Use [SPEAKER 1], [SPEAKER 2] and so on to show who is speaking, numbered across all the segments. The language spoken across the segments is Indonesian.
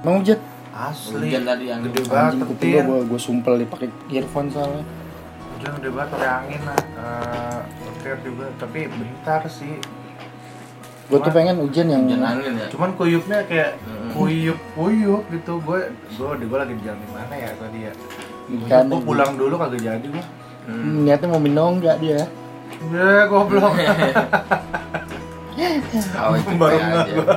[SPEAKER 1] Emang hujan?
[SPEAKER 2] Asli.
[SPEAKER 3] Hujan tadi yang
[SPEAKER 2] gede banget
[SPEAKER 1] Anjing kuping
[SPEAKER 2] petir.
[SPEAKER 1] gua, gua, gua sumpel dipakai earphone soalnya
[SPEAKER 2] Hujan gede banget pakai angin lah. Eh, petir juga, tapi bentar sih.
[SPEAKER 1] Gua tuh
[SPEAKER 2] Cuman-
[SPEAKER 1] pengen hujan yang
[SPEAKER 3] hujan angin ya.
[SPEAKER 2] Cuman kuyupnya kayak
[SPEAKER 3] Mm.
[SPEAKER 2] kuyup-kuyup gitu. Gue gue gue lagi di jalan di mana ya tadi ya.
[SPEAKER 1] Kan,
[SPEAKER 2] Gue pulang dulu kagak jadi gue.
[SPEAKER 3] Hmm.
[SPEAKER 1] Hmm, niatnya mau minum nggak dia?
[SPEAKER 2] Ya, goblok.
[SPEAKER 3] Kau itu
[SPEAKER 2] Hmm. Baru
[SPEAKER 3] kayak
[SPEAKER 2] nggak
[SPEAKER 3] aja.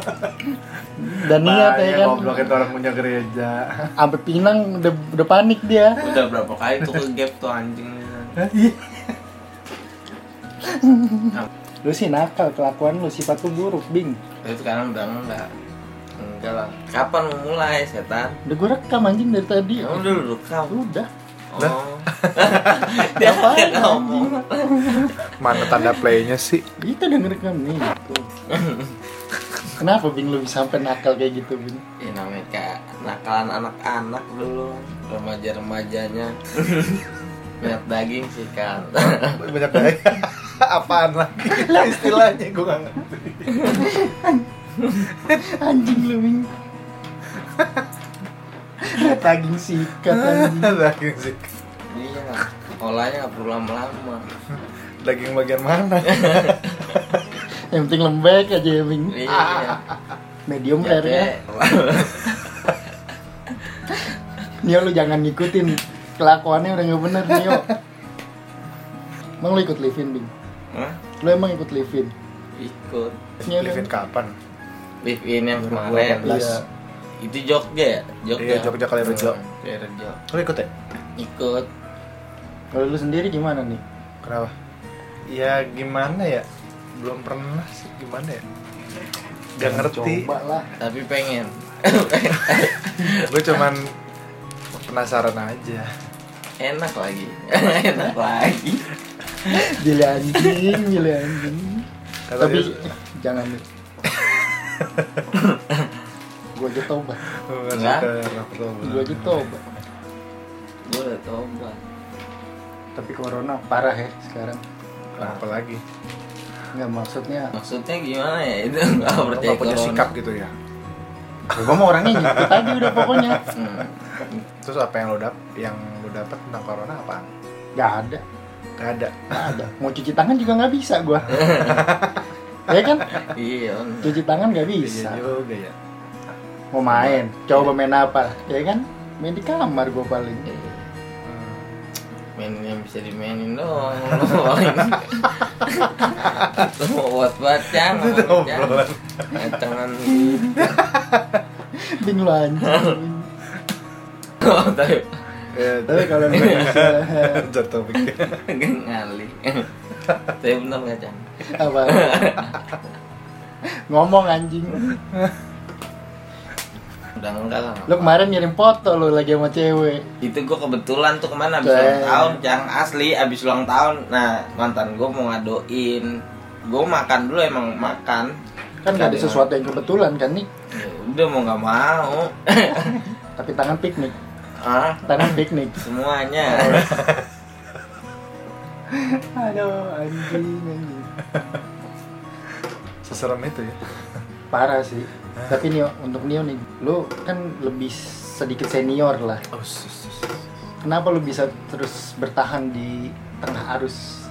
[SPEAKER 1] Dan niat ya
[SPEAKER 2] Bahaya,
[SPEAKER 1] kan
[SPEAKER 2] iya, Goblok itu orang punya gereja.
[SPEAKER 1] Sampai Pinang udah, udah panik dia
[SPEAKER 3] Udah berapa kali tuh ke gap tuh anjing. Nah,
[SPEAKER 1] Lu sih nakal, kelakuan lu sifat lu buruk, Bing
[SPEAKER 3] itu sekarang udah enggak. Enggak lah. Kapan mau mulai setan?
[SPEAKER 1] Udah gue rekam anjing dari tadi
[SPEAKER 2] Iya.
[SPEAKER 3] Ya udah lu rekam.
[SPEAKER 1] Udah
[SPEAKER 3] Oh. Dia
[SPEAKER 1] Apaan,
[SPEAKER 3] ngomong.
[SPEAKER 2] Mana tanda playnya sih?
[SPEAKER 1] Itu udah ngerekam nih tuh. Kenapa Bing lu bisa sampai nakal kayak gitu, Bing?
[SPEAKER 3] Ya namanya kayak nakalan anak-anak dulu Remaja-remajanya Lihat daging sih kan
[SPEAKER 2] Banyak banget. Apaan lagi istilahnya gue nggak ngerti.
[SPEAKER 1] Anjing lu, Bing Taging sikat anjing
[SPEAKER 2] Daging sih.
[SPEAKER 3] Iya Olahnya nggak perlu
[SPEAKER 2] Ah,
[SPEAKER 3] lama-lama
[SPEAKER 2] Daging bagian mana?
[SPEAKER 1] Iya, Yang penting lembek aja ya, Bing
[SPEAKER 3] Iya
[SPEAKER 1] Medium rare ya
[SPEAKER 3] Capek.
[SPEAKER 1] Nio lu jangan ngikutin Kelakuannya udah nggak bener, Nio Emang lu ikut live-in, Bing?
[SPEAKER 3] Hah?
[SPEAKER 1] Lu emang ikut live-in?
[SPEAKER 3] Ikut
[SPEAKER 1] Nio kan?
[SPEAKER 2] Livin kapan?
[SPEAKER 3] Live in yang kemarin
[SPEAKER 1] Iya.
[SPEAKER 3] Itu Jogja ya? Jogja
[SPEAKER 2] Iya, Jogja Kalirejo.
[SPEAKER 3] Hmm, Kalirejo
[SPEAKER 2] Lo ikut ya?
[SPEAKER 3] Ikut
[SPEAKER 1] Kalau lu sendiri gimana nih?
[SPEAKER 2] Kenapa? Ya gimana ya? Belum pernah sih gimana ya? Gak ngerti.
[SPEAKER 1] Coba lah
[SPEAKER 3] Tapi pengen
[SPEAKER 2] Gue cuman penasaran aja.
[SPEAKER 3] Enak lagi Enak lagi
[SPEAKER 1] Gile anjing, gile anjing
[SPEAKER 2] Kata
[SPEAKER 1] Tapi
[SPEAKER 2] dia-
[SPEAKER 1] jangan nih Gue aja tobat
[SPEAKER 2] Gue "Oh, nggak
[SPEAKER 3] Enggak.
[SPEAKER 2] suka narkoba.
[SPEAKER 1] Gue aja tobat
[SPEAKER 3] Gue udah tobat
[SPEAKER 1] Tapi corona parah ya sekarang
[SPEAKER 2] Kenapa lagi?
[SPEAKER 1] Nggak maksudnya
[SPEAKER 3] Maksudnya gimana ya? Itu nggak
[SPEAKER 2] Lo
[SPEAKER 3] percaya
[SPEAKER 2] Ah, nggak punya
[SPEAKER 3] corona.
[SPEAKER 2] sikap gitu ya?
[SPEAKER 1] Gue mau orangnya gitu tadi udah pokoknya
[SPEAKER 3] Hmm.
[SPEAKER 2] Terus apa yang lo dap yang lo dapat tentang corona apaan?
[SPEAKER 1] Gak ada
[SPEAKER 2] Gak ada.
[SPEAKER 1] Gak ada Mau cuci tangan juga nggak bisa gue Ya kan?
[SPEAKER 3] Iya, bener.
[SPEAKER 1] Cuci tangan nggak
[SPEAKER 2] Iya
[SPEAKER 1] bisa
[SPEAKER 2] juga ya.
[SPEAKER 1] Mau main Coba main apa Ya kan? Main di kamar gue paling
[SPEAKER 3] Iya.
[SPEAKER 2] Hmm.
[SPEAKER 3] mainin yang bisa dimainin doang lu paling. Lu mau buat bacang
[SPEAKER 2] Itu obrolan.
[SPEAKER 3] tangan gitu
[SPEAKER 1] Bing lu anjing
[SPEAKER 3] Oh, tapi
[SPEAKER 2] Ya,
[SPEAKER 1] Tapi kalau lu misalnya
[SPEAKER 2] jatuh pikir.
[SPEAKER 3] ngali tapi bener nggak cang
[SPEAKER 1] apa ngomong anjing
[SPEAKER 3] udah enggak lah
[SPEAKER 1] lu kemarin ngirim foto lu lagi sama cewek
[SPEAKER 3] itu gue kebetulan tuh kemana abis ulang
[SPEAKER 1] Damn.
[SPEAKER 3] tahun cang asli abis ulang tahun nah mantan gue mau ngadoin gue makan dulu emang makan
[SPEAKER 1] kan gak ada sesuatu yang kebetulan kan nih
[SPEAKER 3] Ya udah mau nggak mau
[SPEAKER 1] tapi tangan piknik
[SPEAKER 3] ah
[SPEAKER 1] tangan piknik
[SPEAKER 3] semuanya
[SPEAKER 1] aduh anjing anjing
[SPEAKER 2] Seserem itu ya.
[SPEAKER 1] parah sih tapi Nio, untuk Nio nih, lu kan lebih sedikit senior lah.
[SPEAKER 2] Oh, sus, sus.
[SPEAKER 1] Kenapa lu bisa terus bertahan di tengah arus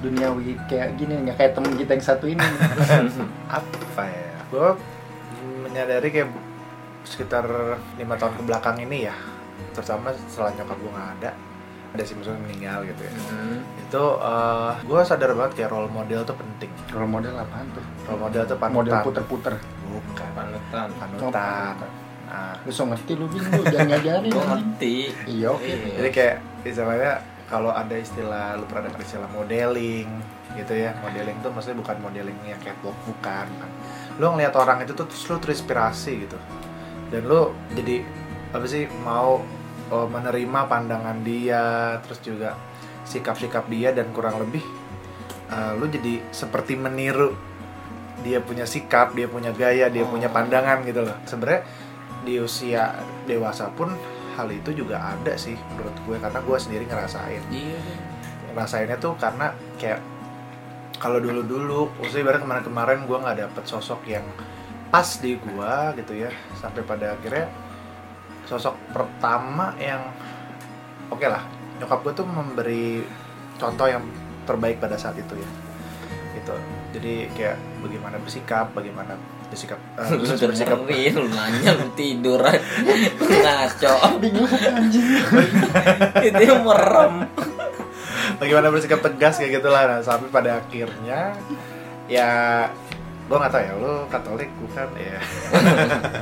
[SPEAKER 1] duniawi kayak gini, nggak kayak temen kita yang satu ini?
[SPEAKER 2] apa ya gue menyadari kayak sekitar lima tahun ke belakang ini ya terutama setelah nyokap gue nggak ada ada si musuh yang meninggal gitu ya
[SPEAKER 3] Hmm.
[SPEAKER 2] itu eh gue sadar banget kayak role model tuh penting
[SPEAKER 1] Role model apaan tuh?
[SPEAKER 2] role model tuh panutan
[SPEAKER 1] Model puter-puter.
[SPEAKER 2] bukan
[SPEAKER 3] panutan
[SPEAKER 2] panutan nah
[SPEAKER 1] Lu so ngerti lu Bing, lu jangan ngajarin
[SPEAKER 3] gue
[SPEAKER 1] anjing.
[SPEAKER 3] ngerti
[SPEAKER 1] Iya oke.
[SPEAKER 3] Iya.
[SPEAKER 2] jadi kayak istilahnya kalau ada istilah lu pernah dengar istilah modeling gitu ya modeling tuh maksudnya bukan modeling yang catwalk bukan bukan. lu ngelihat orang itu tuh terus lu terinspirasi gitu dan lu jadi apa sih mau eh, menerima pandangan dia terus juga sikap-sikap dia dan kurang lebih eh, lu jadi seperti meniru dia punya sikap dia punya gaya dia
[SPEAKER 3] Oh.
[SPEAKER 2] punya pandangan gitu loh sebenarnya di usia dewasa pun hal itu juga ada sih menurut gue karena gue sendiri ngerasain
[SPEAKER 3] Iya.
[SPEAKER 2] ngerasainnya tuh karena kayak kalau dulu dulu maksudnya ibarat kemarin kemarin gue nggak dapet sosok yang pas di gue gitu ya sampai pada akhirnya sosok pertama yang oke lah nyokap gue tuh memberi contoh yang terbaik pada saat itu ya gitu jadi kayak bagaimana bersikap bagaimana bersikap eh,
[SPEAKER 3] lu
[SPEAKER 2] proses bersikap
[SPEAKER 3] dengerin lu nanya lu tiduran ngaco
[SPEAKER 1] bingung anjing
[SPEAKER 3] itu yang merem
[SPEAKER 2] bagaimana bersikap tegas kayak gitulah nah, sampai pada akhirnya ya gue nggak tahu ya lo Katolik bukan ya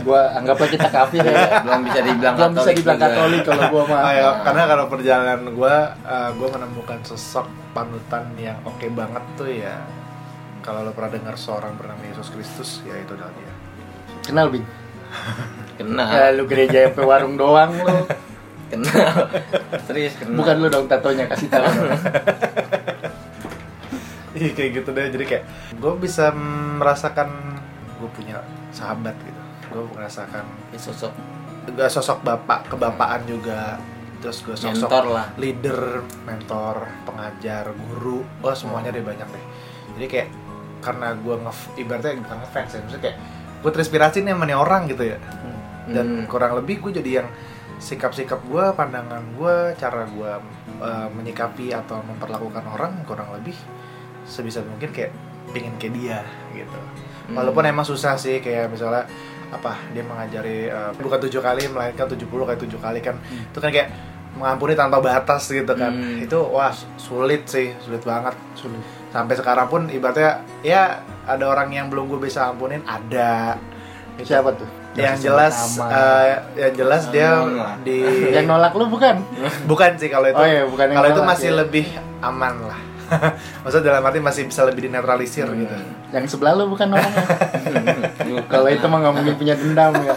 [SPEAKER 1] gua anggaplah kita kafir ya
[SPEAKER 3] belum bisa dibilang
[SPEAKER 1] belum bisa
[SPEAKER 3] Katolik
[SPEAKER 1] dibilang
[SPEAKER 3] juga.
[SPEAKER 1] katolik kalau gua mah
[SPEAKER 2] Ah, ya, karena kalau perjalanan gue gue menemukan sosok panutan yang oke banget tuh ya kalau lo pernah dengar seorang bernama Yesus Kristus ya itu adalah dia
[SPEAKER 1] kenal bing
[SPEAKER 3] kenal
[SPEAKER 1] ya, lu gereja sampai warung doang lu
[SPEAKER 3] kenal serius kenal
[SPEAKER 1] bukan lu dong tatonya kasih tahu dong.
[SPEAKER 2] Iya kayak gitu deh. Jadi kayak gue bisa merasakan gue punya sahabat gitu. Gue merasakan
[SPEAKER 3] Ini sosok
[SPEAKER 2] gue sosok bapak kebapaan juga. Terus gue sosok
[SPEAKER 3] mentor lah
[SPEAKER 2] leader, mentor, pengajar, guru. Oh semuanya deh banyak deh. Jadi kayak karena gue nge ibaratnya bukan ngefans ya, maksudnya kayak gue terinspirasi nih sama nih orang gitu ya. Dan
[SPEAKER 3] Hmm.
[SPEAKER 2] kurang lebih gue jadi yang sikap-sikap gue, pandangan gue, cara gue eh, menyikapi atau memperlakukan orang kurang lebih sebisa mungkin kayak pingin kayak dia gitu.
[SPEAKER 3] Hmm.
[SPEAKER 2] Walaupun emang susah sih kayak misalnya apa dia mengajari eh, bukan tujuh kali melainkan 70 kayak tujuh kali kan
[SPEAKER 1] Hmm.
[SPEAKER 2] itu kan kayak mengampuni tanpa batas gitu kan
[SPEAKER 3] Hmm.
[SPEAKER 2] itu wah sulit sih sulit banget sulit sampai sekarang pun ibaratnya ya ada orang yang belum gue bisa ampunin ada Gitu.
[SPEAKER 1] siapa tuh
[SPEAKER 2] yang jelas eh, yang jelas dia
[SPEAKER 3] Aman lah.
[SPEAKER 2] di
[SPEAKER 1] yang nolak lu bukan
[SPEAKER 2] bukan sih kalau
[SPEAKER 1] oh
[SPEAKER 2] itu
[SPEAKER 1] ya bukan yang
[SPEAKER 2] kalau itu
[SPEAKER 1] nolak,
[SPEAKER 2] masih
[SPEAKER 1] ya.
[SPEAKER 2] lebih aman lah maksudnya dalam arti masih bisa lebih dinetralisir
[SPEAKER 3] Hmm.
[SPEAKER 2] gitu
[SPEAKER 1] yang sebelah lu bukan orangnya kalau itu mah nggak mungkin punya dendam ya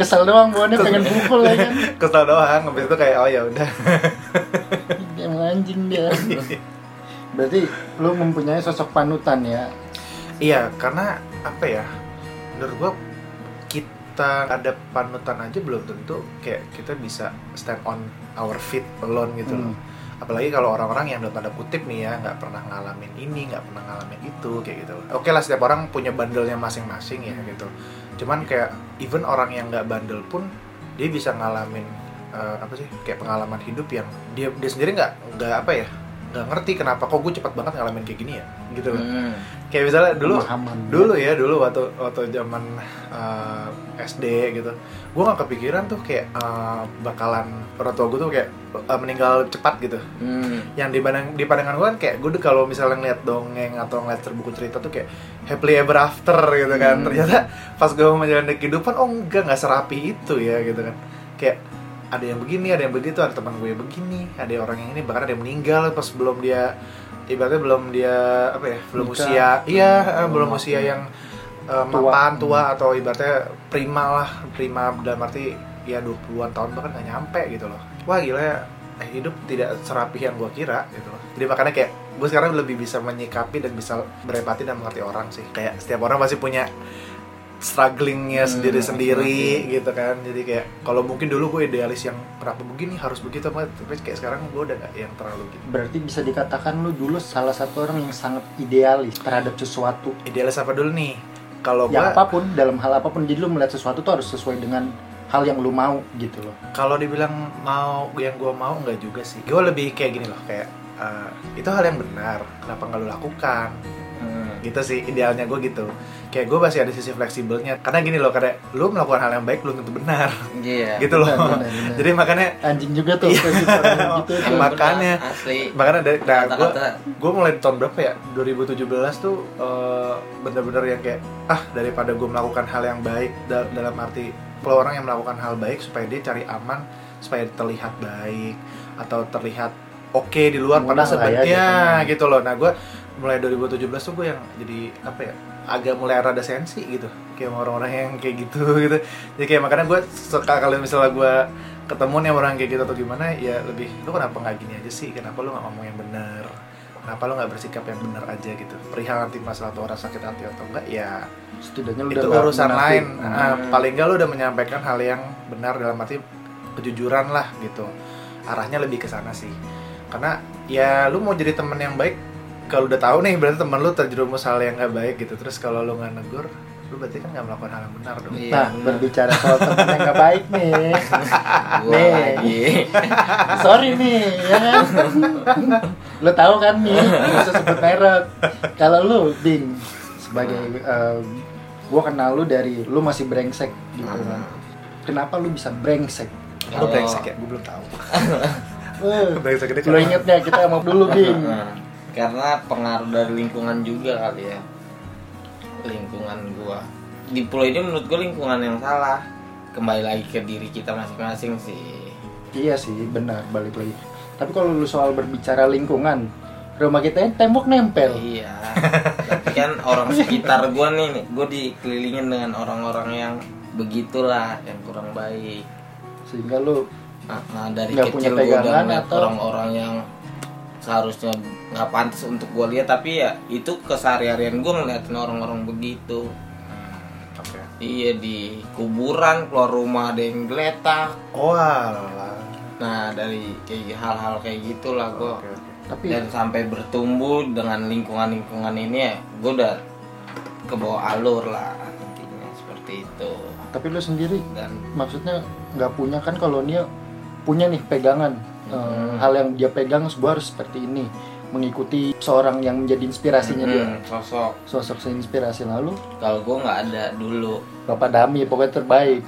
[SPEAKER 1] kesel doang buahnya pengen pukul ya kan
[SPEAKER 2] kesel doang habis itu kayak oh ya udah
[SPEAKER 1] emang anjing dia berarti lu mempunyai sosok panutan ya
[SPEAKER 2] Iya, karena apa ya? Menurut gua kita ada panutan aja belum tentu kayak kita bisa stand on our feet alone gitu loh.
[SPEAKER 1] Hmm.
[SPEAKER 2] Apalagi kalau orang-orang yang dalam tanda kutip nih ya nggak pernah ngalamin ini, nggak pernah ngalamin itu kayak gitu. loh. Oke lah setiap orang punya bandelnya masing-masing ya gitu. Cuman kayak even orang yang nggak bandel pun dia bisa ngalamin eh, apa sih kayak pengalaman hidup yang dia dia sendiri nggak nggak apa ya nggak ngerti kenapa kok gue cepat banget ngalamin kayak gini ya gitu loh
[SPEAKER 3] Hmm.
[SPEAKER 2] kayak misalnya dulu
[SPEAKER 1] Pemahaman.
[SPEAKER 2] dulu ya dulu waktu waktu zaman eh, SD gitu gue nggak kepikiran tuh kayak eh, bakalan orang tua gue tuh kayak eh, meninggal cepat gitu
[SPEAKER 3] Hmm.
[SPEAKER 2] yang di pandang di pandangan gue kan kayak gue kalau misalnya ngeliat dongeng atau ngeliat buku cerita tuh kayak happily ever after gitu kan
[SPEAKER 3] Hmm.
[SPEAKER 2] ternyata pas gue menjalani kehidupan oh enggak nggak serapi itu ya gitu kan kayak ada yang begini ada yang begitu ada teman gue yang begini ada orang yang ini bahkan ada yang meninggal pas belum dia ibaratnya belum dia apa ya belum
[SPEAKER 1] Nikah.
[SPEAKER 2] usia iya eh,
[SPEAKER 3] Belum
[SPEAKER 2] belum
[SPEAKER 3] mapan.
[SPEAKER 2] usia yang eh,
[SPEAKER 1] Tua.
[SPEAKER 2] mapan tua atau ibaratnya prima lah prima dalam arti ya 20-an tahun bahkan nggak nyampe gitu loh wah gila ya hidup tidak serapih yang gue kira gitu loh jadi makanya kayak gue sekarang lebih bisa menyikapi dan bisa berempati dan mengerti orang sih kayak setiap orang pasti punya strugglingnya
[SPEAKER 3] Hmm,
[SPEAKER 2] sendiri-sendiri gitu kan jadi kayak kalau mungkin dulu gue idealis yang kenapa begini harus begitu apa tapi kayak sekarang gue udah nggak yang terlalu gitu
[SPEAKER 1] berarti bisa dikatakan lu dulu salah satu orang yang sangat idealis terhadap sesuatu
[SPEAKER 2] idealis apa dulu nih kalau gue
[SPEAKER 1] ya apapun dalam hal apapun jadi lu melihat sesuatu tuh harus sesuai dengan hal yang lu mau gitu loh
[SPEAKER 2] kalau dibilang mau yang gue mau nggak juga sih gue lebih kayak gini loh kayak eh, itu hal yang benar kenapa nggak lo lakukan
[SPEAKER 3] Hmm.
[SPEAKER 2] gitu sih idealnya gue gitu kayak gue masih ada sisi fleksibelnya karena gini loh karena lu melakukan hal yang baik belum tentu benar
[SPEAKER 3] Iya.
[SPEAKER 2] gitu loh
[SPEAKER 1] Benar, benar, benar.
[SPEAKER 2] jadi makanya
[SPEAKER 1] anjing juga tuh versi orang gitu
[SPEAKER 3] Yang
[SPEAKER 1] tuh.
[SPEAKER 2] Emang. makanya.
[SPEAKER 3] benar, asli.
[SPEAKER 2] makanya dari nah, gue
[SPEAKER 3] Kata-kata
[SPEAKER 2] gue mulai tahun berapa ya 2017 tuh eh, bener-bener yang kayak ah daripada gue melakukan hal yang baik da- dalam arti kalau orang yang melakukan hal baik supaya dia cari aman supaya terlihat baik atau terlihat oke di luar
[SPEAKER 1] Murah
[SPEAKER 2] pada
[SPEAKER 1] lah ya,
[SPEAKER 2] sebenarnya
[SPEAKER 1] gitu.
[SPEAKER 2] gitu loh nah gue mulai 2017 tuh gue yang jadi apa ya agak mulai rada sensi gitu kayak sama orang-orang yang kayak gitu gitu jadi kayak makanya gue suka kalau misalnya gue ketemu nih orang kayak gitu atau gimana ya lebih lu kenapa nggak gini aja sih kenapa lu nggak ngomong yang benar kenapa lu nggak bersikap yang benar aja gitu perihal nanti masalah atau orang sakit hati atau enggak ya
[SPEAKER 1] setidaknya lu
[SPEAKER 2] itu
[SPEAKER 1] udah
[SPEAKER 2] urusan
[SPEAKER 1] menafik.
[SPEAKER 2] lain
[SPEAKER 1] Hmm.
[SPEAKER 2] Ah, paling nggak lu udah menyampaikan hal yang benar dalam arti kejujuran lah gitu arahnya lebih ke sana sih karena ya lu mau jadi temen yang baik kalau udah tahu nih berarti temen lu terjerumus hal yang nggak baik gitu terus kalau lu nggak negur lu berarti kan nggak melakukan hal yang benar dong
[SPEAKER 3] Iya.
[SPEAKER 1] Nah,
[SPEAKER 3] benar.
[SPEAKER 1] berbicara soal temen yang gak baik nih.
[SPEAKER 3] Gua
[SPEAKER 1] Nih.
[SPEAKER 3] lagi.
[SPEAKER 1] Sorry nih, ya kan? Lo tahu kan nih, nggak usah sebut merek. Kalau lu, Bing, sebagai eh, gua kenal lu dari lu masih brengsek gitu kan. Kenapa lu bisa brengsek?
[SPEAKER 2] lu
[SPEAKER 3] Kalau-
[SPEAKER 2] brengsek ya gue belum tahu
[SPEAKER 1] Eh,
[SPEAKER 2] brengsek itu
[SPEAKER 1] Lo inget nggak? kita mau dulu, Bing.
[SPEAKER 3] Hmm. Karena pengaruh dari lingkungan juga kali ya. Lingkungan gua. Di pulau ini menurut gua lingkungan yang salah. Kembali lagi ke diri kita masing-masing sih.
[SPEAKER 1] Iya sih, benar balik lagi. Tapi kalau lu soal berbicara lingkungan, rumah kita ini tembok nempel.
[SPEAKER 3] Iya. Tapi kan orang sekitar gua nih, gua dikelilingin dengan orang-orang yang begitulah, yang kurang baik.
[SPEAKER 1] Sehingga lu
[SPEAKER 3] Nah, nah, dari
[SPEAKER 1] Nggak punya
[SPEAKER 3] kecil gue udah
[SPEAKER 1] pegangan
[SPEAKER 3] ngeliat
[SPEAKER 1] atau-
[SPEAKER 3] orang-orang yang seharusnya nggak pantas untuk gue lihat tapi ya itu kesehari-harian gue ngeliatin orang-orang begitu
[SPEAKER 2] oke
[SPEAKER 3] iya di kuburan keluar rumah ada yang geletak
[SPEAKER 2] oh alah
[SPEAKER 3] nah dari kayak hal-hal kayak gitulah gue
[SPEAKER 2] oke oke
[SPEAKER 1] tapi
[SPEAKER 3] dan sampai bertumbuh dengan lingkungan-lingkungan ini ya gue udah ke bawah alur lah intinya seperti itu
[SPEAKER 1] tapi lu sendiri
[SPEAKER 3] dan
[SPEAKER 1] maksudnya nggak punya kan kalau dia punya nih pegangan Eh,
[SPEAKER 3] Hmm.
[SPEAKER 1] hal yang dia pegang sebuah harus seperti ini mengikuti seorang yang menjadi inspirasinya dia
[SPEAKER 3] hmm, sosok
[SPEAKER 1] sosok inspirasi lalu
[SPEAKER 3] kalau gue nggak ada dulu
[SPEAKER 1] bapak Dami pokoknya terbaik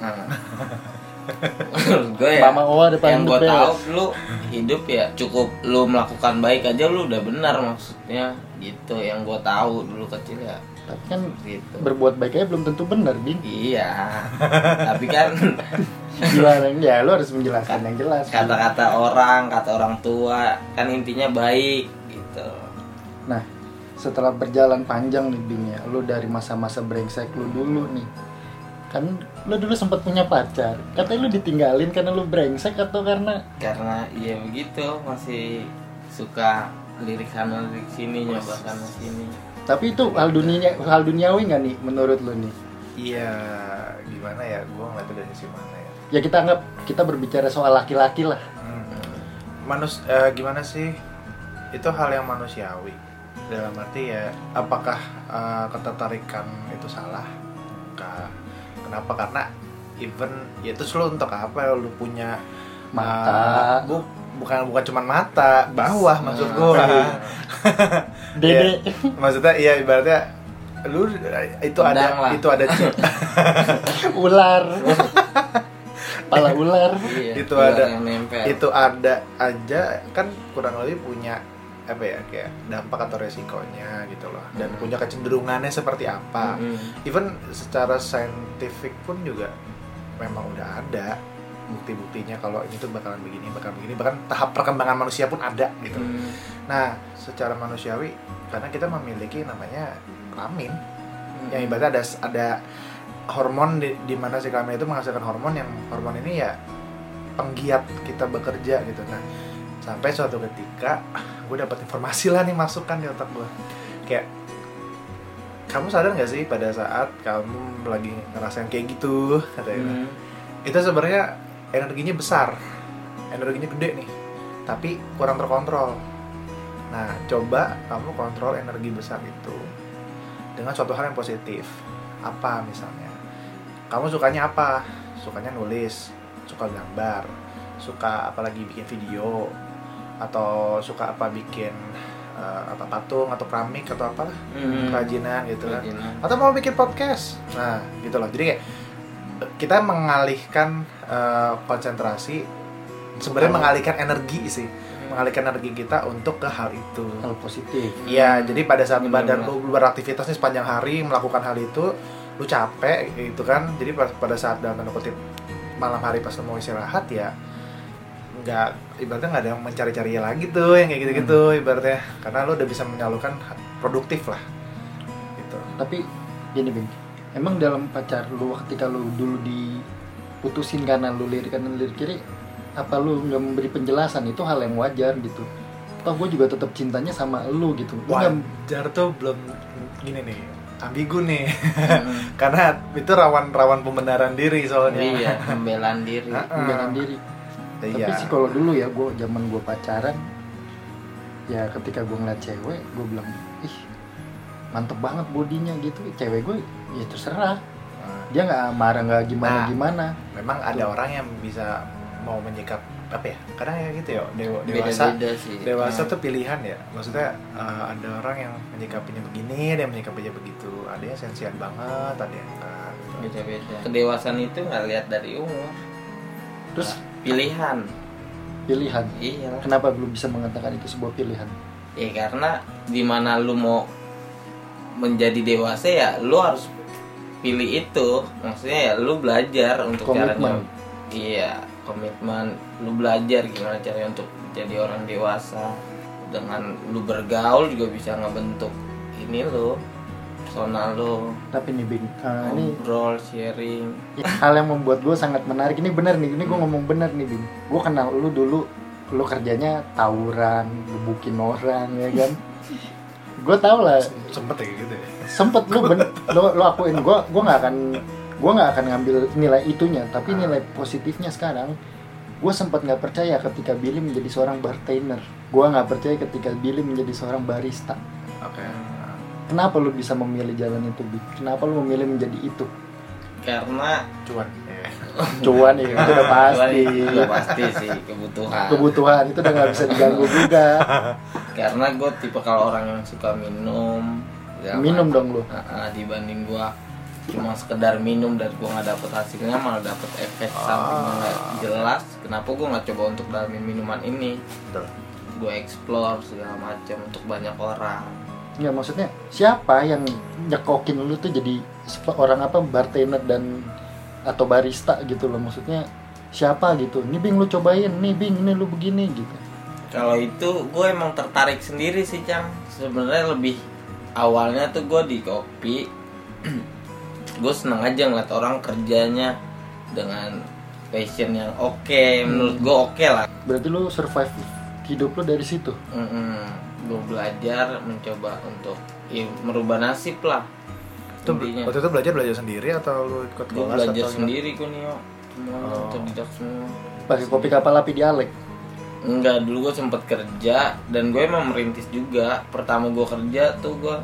[SPEAKER 3] Menurut gue ya,
[SPEAKER 1] Mama Owa depan
[SPEAKER 3] yang gue
[SPEAKER 1] the best.
[SPEAKER 3] tahu lu hidup ya cukup lu melakukan baik aja lu udah benar maksudnya gitu yang gue tahu dulu kecil ya
[SPEAKER 1] tapi kan
[SPEAKER 3] gitu
[SPEAKER 1] berbuat baiknya belum tentu benar bin
[SPEAKER 3] iya tapi kan
[SPEAKER 1] gimana ya lu harus menjelaskan yang jelas
[SPEAKER 3] kata-kata orang kata orang tua kan intinya baik gitu
[SPEAKER 1] nah setelah berjalan panjang nih bin ya lu dari masa-masa brengsek lu dulu nih kan lu dulu sempat punya pacar katanya lu ditinggalin karena lu brengsek atau karena
[SPEAKER 3] karena iya begitu masih suka lirik sana lirik sini nyoba sana sini
[SPEAKER 1] Tapi itu hal dunia hal duniawi nggak nih menurut lo nih?
[SPEAKER 2] iya gimana ya gue ngeliatnya dari sisi mana ya
[SPEAKER 1] Ya kita anggap kita berbicara soal laki-laki lah.
[SPEAKER 2] Hmm. Manus eh, gimana sih? Itu hal yang manusiawi. Dalam arti ya apakah eh, ketertarikan itu salah? Enggak. Kenapa? Karena even ya itu lo untuk apa lu punya eh,
[SPEAKER 1] Mata.
[SPEAKER 2] bu- bukan bukan cuman mata, bawah maksud
[SPEAKER 3] Nah.
[SPEAKER 2] gua.
[SPEAKER 3] Iya.
[SPEAKER 1] Dede
[SPEAKER 2] maksudnya iya ibaratnya lu eh, itu
[SPEAKER 3] Tendang
[SPEAKER 2] ada
[SPEAKER 3] lah.
[SPEAKER 2] itu ada ci-
[SPEAKER 1] ular. Kepala ular.
[SPEAKER 3] iya,
[SPEAKER 2] Itu
[SPEAKER 3] ular
[SPEAKER 2] ada-
[SPEAKER 3] yang nempel
[SPEAKER 2] itu ada aja kan kurang lebih punya apa ya kayak dampak atau resikonya gitu loh dan
[SPEAKER 3] Hmm.
[SPEAKER 2] punya kecenderungannya seperti apa
[SPEAKER 3] Mm-mm.
[SPEAKER 2] even secara saintifik pun juga memang udah ada bukti-buktinya kalau ini tuh bakalan begini bakalan begini bahkan tahap perkembangan manusia pun ada gitu
[SPEAKER 3] Mm.
[SPEAKER 2] nah secara manusiawi karena kita memiliki namanya kelamin yang ibaratnya ada ada hormon di, di mana si kelamin itu menghasilkan hormon yang hormon ini ya penggiat kita bekerja gitu nah sampai suatu ketika gue dapat informasi lah nih masukan di otak gue kayak kamu sadar nggak sih pada saat kamu lagi ngerasain kayak gitu katanya
[SPEAKER 3] Mm.
[SPEAKER 2] itu sebenarnya energinya besar energinya gede nih tapi kurang terkontrol nah coba kamu kontrol energi besar itu dengan suatu hal yang positif apa misalnya kamu sukanya apa sukanya nulis suka gambar suka apalagi bikin video atau suka apa bikin eh, apa patung atau keramik atau apalah
[SPEAKER 3] Mm.
[SPEAKER 2] kerajinan gitu kan
[SPEAKER 3] Kerajinan.
[SPEAKER 2] atau mau bikin podcast nah gitu loh jadi kayak kita mengalihkan eh, konsentrasi sebenarnya mengalihkan energi sih mengalihkan energi kita untuk ke hal itu
[SPEAKER 1] Hal positif.
[SPEAKER 2] Iya, jadi pada saat
[SPEAKER 3] Bener,
[SPEAKER 2] badan lu beraktivitas nih sepanjang hari melakukan hal itu, lu capek gitu kan. Jadi pas- pada saat dalam tanda kutip malam hari pas lu mau istirahat ya nggak ibaratnya nggak ada yang mencari-cari lagi tuh yang kayak gitu-gitu ibaratnya karena lu udah bisa menyalurkan ha- produktif lah gitu
[SPEAKER 1] Tapi gini Bing, emang dalam pacar lu ketika lu dulu diputusin karena lu lirik kanan lirik kiri, apa lu nggak memberi penjelasan itu hal yang wajar gitu. Toh gue juga tetap cintanya sama lu gitu. Lu nggak-
[SPEAKER 2] wajar tuh belum gini nih ambigu nih
[SPEAKER 3] Mm.
[SPEAKER 2] karena itu rawan-rawan pembenaran diri soalnya Iya.
[SPEAKER 3] iya pembelaan diri
[SPEAKER 2] Heeh.
[SPEAKER 1] nggak diri. Tapi sih kalau dulu ya gue zaman gue pacaran ya ketika gue ngeliat cewek gue bilang ih mantep banget bodinya gitu cewek gue ya terserah
[SPEAKER 2] Nah,
[SPEAKER 1] dia nggak marah nggak gimana
[SPEAKER 2] Nah.
[SPEAKER 1] gimana
[SPEAKER 2] memang ada orang yang bisa mau menyikap apa ya kadang ya gitu ya dewa, dewasa
[SPEAKER 3] beda-beda sih
[SPEAKER 2] dewasa
[SPEAKER 3] Nah,
[SPEAKER 2] tuh pilihan ya maksudnya eh, ada orang yang menyikapinya begini ada yang menyikapinya begitu ada yang sensian banget ada yang enggak gitu.
[SPEAKER 3] beda-beda kedewasaan itu nggak lihat dari umur
[SPEAKER 1] terus
[SPEAKER 3] Nah. pilihan
[SPEAKER 1] pilihan
[SPEAKER 3] iya
[SPEAKER 1] kenapa belum bisa mengatakan itu sebuah pilihan
[SPEAKER 3] ya karena dimana lu mau menjadi dewasa ya lu harus pilih itu maksudnya ya lu belajar untuk caranya
[SPEAKER 1] komitmen
[SPEAKER 3] iya komitmen lu belajar gimana caranya untuk jadi orang dewasa dengan lu bergaul juga bisa ngebentuk ini lu personal lu
[SPEAKER 1] tapi nih Bing
[SPEAKER 3] Oh.
[SPEAKER 1] eh, ini
[SPEAKER 3] ngobrol sharing
[SPEAKER 1] hal yang membuat gue sangat menarik ini benar nih ini gue ngomong benar nih Bing gue kenal lu dulu lu kerjanya tawuran gebukin orang ya kan gue tau lah
[SPEAKER 2] sempet ya kayak gitu ya
[SPEAKER 1] sempet lu ben lu, lu akuin gue gue nggak akan gue nggak akan ngambil nilai itunya tapi nilai positifnya sekarang gue sempat nggak percaya ketika Billy menjadi seorang bartender gue nggak percaya ketika Billy menjadi seorang barista
[SPEAKER 2] oke
[SPEAKER 3] Iya.
[SPEAKER 2] Nah,
[SPEAKER 1] kenapa lu bisa memilih jalan itu Bing kenapa lu memilih menjadi itu
[SPEAKER 3] karena
[SPEAKER 2] cuan ya
[SPEAKER 1] cuan ya itu udah pasti
[SPEAKER 3] Iya, pasti sih kebutuhan
[SPEAKER 1] kebutuhan itu udah nggak bisa diganggu juga
[SPEAKER 3] karena gue tipe kalau orang yang suka minum ya
[SPEAKER 1] minum
[SPEAKER 3] mah.
[SPEAKER 1] dong lu
[SPEAKER 3] Nah, dibanding gue cuma sekedar minum dan gue nggak dapet hasilnya malah dapet efek
[SPEAKER 1] Ah.
[SPEAKER 3] samping yang nggak jelas kenapa gue nggak coba untuk dalamin minuman ini
[SPEAKER 2] betul
[SPEAKER 3] gue explore segala macam untuk banyak orang
[SPEAKER 1] nggak Ya, maksudnya siapa yang nyekokin lu tuh jadi sep- orang apa bartender dan atau barista gitu loh maksudnya siapa gitu nih bing lu cobain nih bing ini lu begini gitu
[SPEAKER 3] kalau itu gue emang tertarik sendiri sih cang sebenarnya lebih awalnya tuh gue di kopi gue seneng aja ngeliat orang kerjanya dengan passion yang oke
[SPEAKER 2] Hmm.
[SPEAKER 3] menurut gue oke lah
[SPEAKER 1] berarti lu survive hidup lu dari situ
[SPEAKER 3] gue belajar mencoba untuk ya, merubah nasib lah
[SPEAKER 2] itu
[SPEAKER 3] intinya
[SPEAKER 2] waktu itu belajar belajar sendiri atau lu ikut
[SPEAKER 3] gue
[SPEAKER 2] kelas
[SPEAKER 3] belajar
[SPEAKER 2] atau
[SPEAKER 3] sendiri kok Nio semuanya
[SPEAKER 2] Oh.
[SPEAKER 3] otodidak semua
[SPEAKER 1] pakai kopi kapal api dialek
[SPEAKER 3] Enggak, dulu gue sempet kerja dan gue emang merintis juga. Pertama gue kerja tuh gue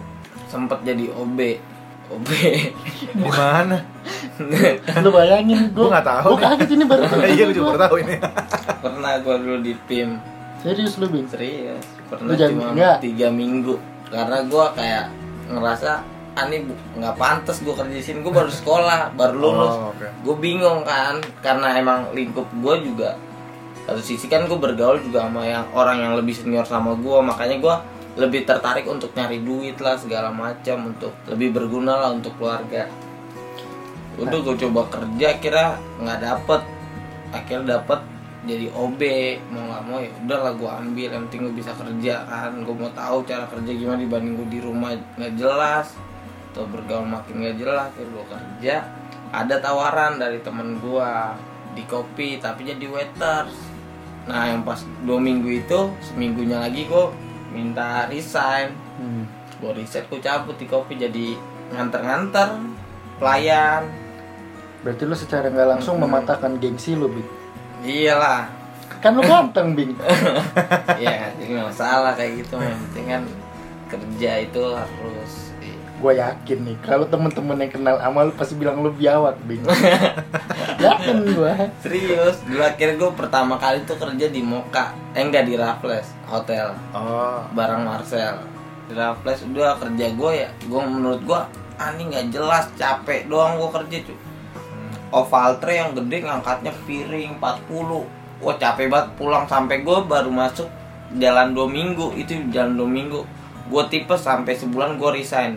[SPEAKER 3] sempet jadi OB. OB.
[SPEAKER 2] gimana
[SPEAKER 1] lu bayangin
[SPEAKER 2] Gua
[SPEAKER 1] gua
[SPEAKER 2] nggak tahu
[SPEAKER 1] gua
[SPEAKER 2] nih.
[SPEAKER 1] kaget ini baru
[SPEAKER 2] iya gue juga baru tahu ini
[SPEAKER 3] pernah gue dulu di tim
[SPEAKER 1] serius lu bing
[SPEAKER 3] serius. Pernah
[SPEAKER 1] Lu jangan-
[SPEAKER 3] cuma
[SPEAKER 1] enggak.
[SPEAKER 3] tiga minggu karena gue kayak ngerasa ah ini bu- nggak pantas gue kerja di sini. Gue baru sekolah, baru lulus.
[SPEAKER 2] Oh, oke.
[SPEAKER 3] Gue bingung kan karena emang lingkup gue juga satu sisi kan gue bergaul juga sama yang orang yang lebih senior sama gue makanya gue lebih tertarik untuk nyari duit lah segala macam untuk lebih berguna lah untuk keluarga udah gue coba kerja kira nggak dapet akhirnya dapet jadi OB mau nggak mau ya udahlah gue ambil yang penting gue bisa kerja kan gue mau tahu cara kerja gimana dibanding gue di rumah nggak jelas atau bergaul makin nggak jelas akhirnya gue kerja ada tawaran dari temen gue di kopi tapi jadi waiters nah yang pas dua minggu itu seminggunya lagi gue minta resign
[SPEAKER 1] hmm.
[SPEAKER 3] gue resign gue cabut di kopi jadi nganter-nganter pelayan
[SPEAKER 1] berarti lu secara nggak langsung mematahkan gengsi lu bing
[SPEAKER 3] iyalah
[SPEAKER 1] kan lu ganteng bing
[SPEAKER 3] ya nggak masalah kayak gitu yang penting kan kerja itu harus
[SPEAKER 1] gue yakin nih kalau temen-temen yang kenal sama lu pasti bilang lu biawak bing yakin gue
[SPEAKER 3] serius dulu akhirnya gue pertama kali tuh kerja di Moka eh enggak di Raffles hotel
[SPEAKER 2] oh
[SPEAKER 3] bareng Marcel di Raffles udah kerja gue ya gue menurut gue ani nggak jelas capek doang gue kerja cuy oval tray yang gede ngangkatnya piring 40 wah capek banget pulang sampai gue baru masuk jalan dua minggu itu jalan dua minggu gue tipes sampai sebulan gue resign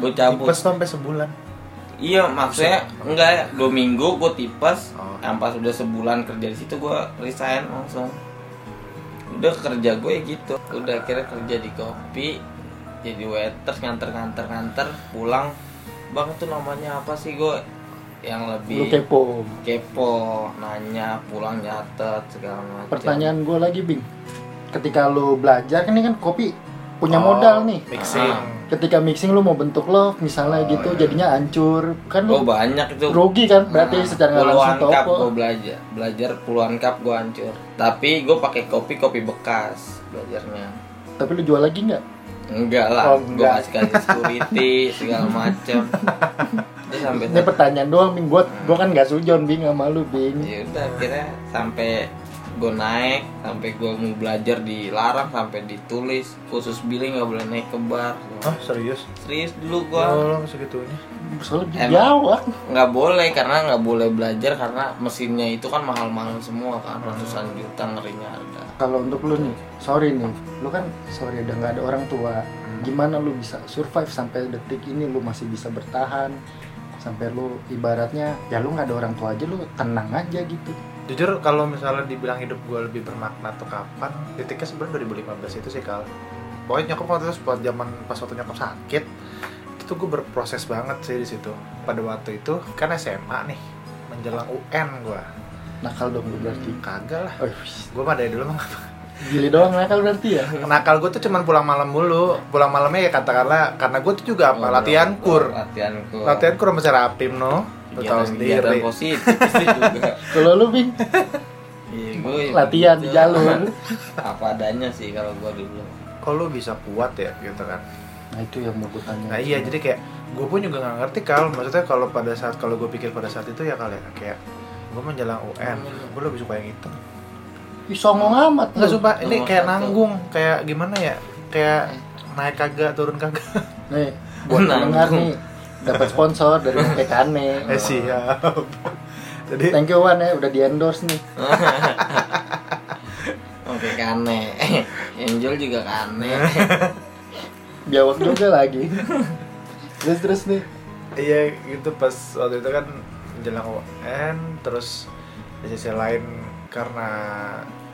[SPEAKER 3] gue cabut
[SPEAKER 2] tipes tuh sampai sebulan
[SPEAKER 3] iya maksudnya enggak ya, dua minggu gue tipes
[SPEAKER 2] Oh.
[SPEAKER 3] yang pas udah sebulan kerja di situ gue resign langsung udah kerja gue ya gitu udah akhirnya kerja di kopi jadi waiter nganter nganter nganter pulang bang itu namanya apa sih gue yang
[SPEAKER 1] lu
[SPEAKER 3] lebih
[SPEAKER 1] kepo
[SPEAKER 3] kepo nanya pulang nyatet segala macam
[SPEAKER 1] pertanyaan gue lagi bing ketika lu belajar kan ini kan kopi punya
[SPEAKER 2] Oh,
[SPEAKER 1] modal nih
[SPEAKER 2] mixing
[SPEAKER 3] Ah.
[SPEAKER 1] ketika mixing lu mau bentuk lo misalnya
[SPEAKER 2] Oh,
[SPEAKER 1] gitu
[SPEAKER 2] iya.
[SPEAKER 1] jadinya hancur kan lu
[SPEAKER 3] oh banyak itu
[SPEAKER 1] rugi kan berarti
[SPEAKER 3] Nah,
[SPEAKER 1] secara nggak
[SPEAKER 3] puluhan
[SPEAKER 1] langsung
[SPEAKER 3] cup
[SPEAKER 1] toko
[SPEAKER 3] gue belajar belajar puluhan cup gue hancur tapi gue pakai kopi kopi bekas belajarnya
[SPEAKER 1] tapi lu jual lagi nggak
[SPEAKER 3] Enggak lah,
[SPEAKER 1] Oh,
[SPEAKER 3] gue
[SPEAKER 1] enggak.
[SPEAKER 3] kasih kasih security segala macem. Terus sampai
[SPEAKER 1] Ini pertanyaan doang, Bing. Gua, gua kan gak sujon, Bing, sama lu, Bing.
[SPEAKER 3] ya udah akhirnya sampai gue naik, sampai gue mau belajar dilarang, sampai ditulis khusus billing nggak boleh naik ke bar.
[SPEAKER 2] Hah Oh, serius?
[SPEAKER 3] Serius dulu gue
[SPEAKER 1] Oh.
[SPEAKER 2] Tolong segitunya.
[SPEAKER 1] Soalnya ah. dia
[SPEAKER 3] Emang.
[SPEAKER 1] jawab.
[SPEAKER 3] nggak boleh karena nggak boleh belajar karena mesinnya itu kan mahal-mahal semua kan ratusan juta ngerinya ada.
[SPEAKER 1] Kalau untuk lu nih, sorry nih. Lu kan sorry udah nggak ada orang tua. Gimana lu bisa survive sampai detik ini lu masih bisa bertahan? Sampai lu ibaratnya ya lu nggak ada orang tua aja lu tenang aja gitu.
[SPEAKER 2] Jujur kalau misalnya dibilang hidup gue lebih bermakna tuh kapan? Titiknya sebenarnya 2015 itu sih kal. Pokoknya nyokap waktu itu buat zaman pas waktu nyokap sakit itu gue berproses banget sih di situ. Pada waktu itu kan SMA nih menjelang UN gue.
[SPEAKER 1] Nakal dong lu berarti.
[SPEAKER 2] Kagak lah.
[SPEAKER 1] Oh, wis.
[SPEAKER 2] Gue mah dari dulu mah
[SPEAKER 1] gili doang nakal berarti ya.
[SPEAKER 2] nakal gue tuh cuman pulang malam mulu. Pulang malamnya ya katakanlah karena gue tuh juga apa latihan kur.
[SPEAKER 3] Latihan kur.
[SPEAKER 2] Latihan kur sama si Rapim no. Lo tau
[SPEAKER 3] Kegiatan
[SPEAKER 2] sendiri.
[SPEAKER 3] positif sih juga.
[SPEAKER 1] Kalau lu Bing
[SPEAKER 3] Iya, gua
[SPEAKER 2] Eh,
[SPEAKER 3] ya
[SPEAKER 1] latihan di
[SPEAKER 3] begitu.
[SPEAKER 1] jalur.
[SPEAKER 3] Apa adanya sih kalau gua dulu.
[SPEAKER 2] Kok lo bisa kuat ya gitu kan?
[SPEAKER 1] Nah itu yang mau gue tanya.
[SPEAKER 2] Nah iya jadi kayak gue pun juga nggak ngerti kalau maksudnya kalau pada saat kalau gue pikir pada saat itu ya kali ya, kayak gue menjelang UN gue lebih suka yang itu
[SPEAKER 1] Ih, songong amat
[SPEAKER 2] nggak
[SPEAKER 1] lu.
[SPEAKER 2] suka Hmm. ini
[SPEAKER 3] Nomor
[SPEAKER 2] kayak
[SPEAKER 3] satu.
[SPEAKER 2] nanggung kayak gimana ya kayak naik kagak turun kagak
[SPEAKER 1] Nih, buat
[SPEAKER 3] Nah,
[SPEAKER 1] pendengar
[SPEAKER 3] itu.
[SPEAKER 1] nih dapat sponsor dari Kekane.
[SPEAKER 2] eh siap jadi
[SPEAKER 1] Thank you Wan ya udah di endorse nih.
[SPEAKER 3] Oke kane. Angel juga kane.
[SPEAKER 1] Jawab juga lagi. Terus terus nih.
[SPEAKER 2] iya gitu pas waktu itu kan menjelang UN terus di sisi lain karena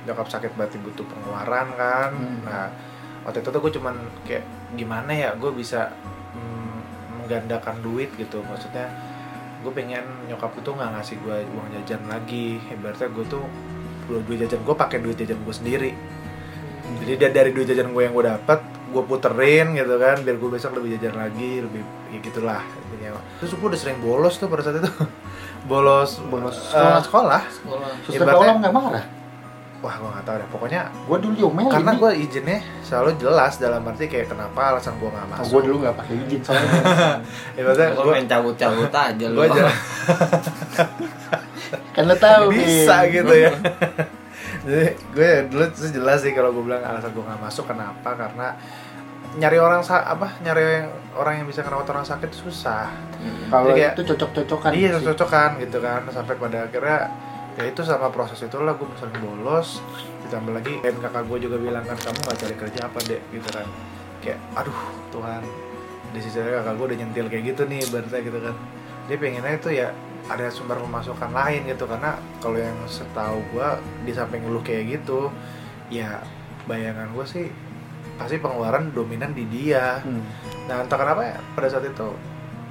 [SPEAKER 2] nyokap sakit berarti butuh pengeluaran kan
[SPEAKER 1] Hmm.
[SPEAKER 2] nah waktu itu tuh gue cuman kayak gimana ya gue bisa mm, menggandakan duit gitu maksudnya gue pengen nyokap itu nggak ngasih gue uang jajan lagi ibaratnya gue tuh dua duit jajan gue pakai duit jajan gue sendiri jadi da- dari duit jajan gue yang gue dapat gue puterin gitu kan biar gue besok lebih jajan lagi lebih ya gitulah intinya terus gue udah sering bolos tuh pada saat itu bolos
[SPEAKER 1] Bolos
[SPEAKER 2] eh,
[SPEAKER 1] sekolah.
[SPEAKER 2] sekolah
[SPEAKER 3] Sekolah.
[SPEAKER 1] Suster
[SPEAKER 2] Ibaratnya-
[SPEAKER 1] tolong nggak marah.
[SPEAKER 2] wah gue nggak tahu deh pokoknya
[SPEAKER 1] Gue dulu diomelin.
[SPEAKER 2] karena
[SPEAKER 1] nih.
[SPEAKER 2] gue izinnya selalu jelas dalam arti kayak kenapa alasan gue nggak
[SPEAKER 1] Oh,
[SPEAKER 2] masuk Ya,
[SPEAKER 1] gue dulu nggak pakai izin soalnya
[SPEAKER 2] ibaratnya
[SPEAKER 3] Gua
[SPEAKER 2] gue
[SPEAKER 3] main cabut-cabut aja lu.
[SPEAKER 2] gue aja
[SPEAKER 1] kan lo tahu
[SPEAKER 2] bisa
[SPEAKER 1] Bin.
[SPEAKER 2] gitu ya jadi gue dulu tuh jelas sih kalau gue bilang alasan gue nggak masuk kenapa karena nyari orang sa- apa nyari yang- orang yang bisa ngerawat orang sakit susah
[SPEAKER 3] Hmm.
[SPEAKER 1] kalau
[SPEAKER 2] Jadi kayak-
[SPEAKER 1] itu cocok-cocokan
[SPEAKER 2] iya
[SPEAKER 1] sih.
[SPEAKER 2] cocokan gitu kan sampai pada akhirnya ya itu sama proses itulah gue sering bolos ditambah lagi dan kakak gue juga bilang kan kamu nggak cari kerja apa dek gitu kan kayak aduh Tuhan di sisi lain kakak gue udah nyentil kayak gitu nih berarti gitu kan dia pengennya itu ya ada sumber pemasukan lain gitu karena kalau yang setahu gue di samping lu kayak gitu ya bayangan gue sih pasti pengeluaran dominan di dia
[SPEAKER 1] Hmm.
[SPEAKER 2] Nah entah kenapa ya pada saat itu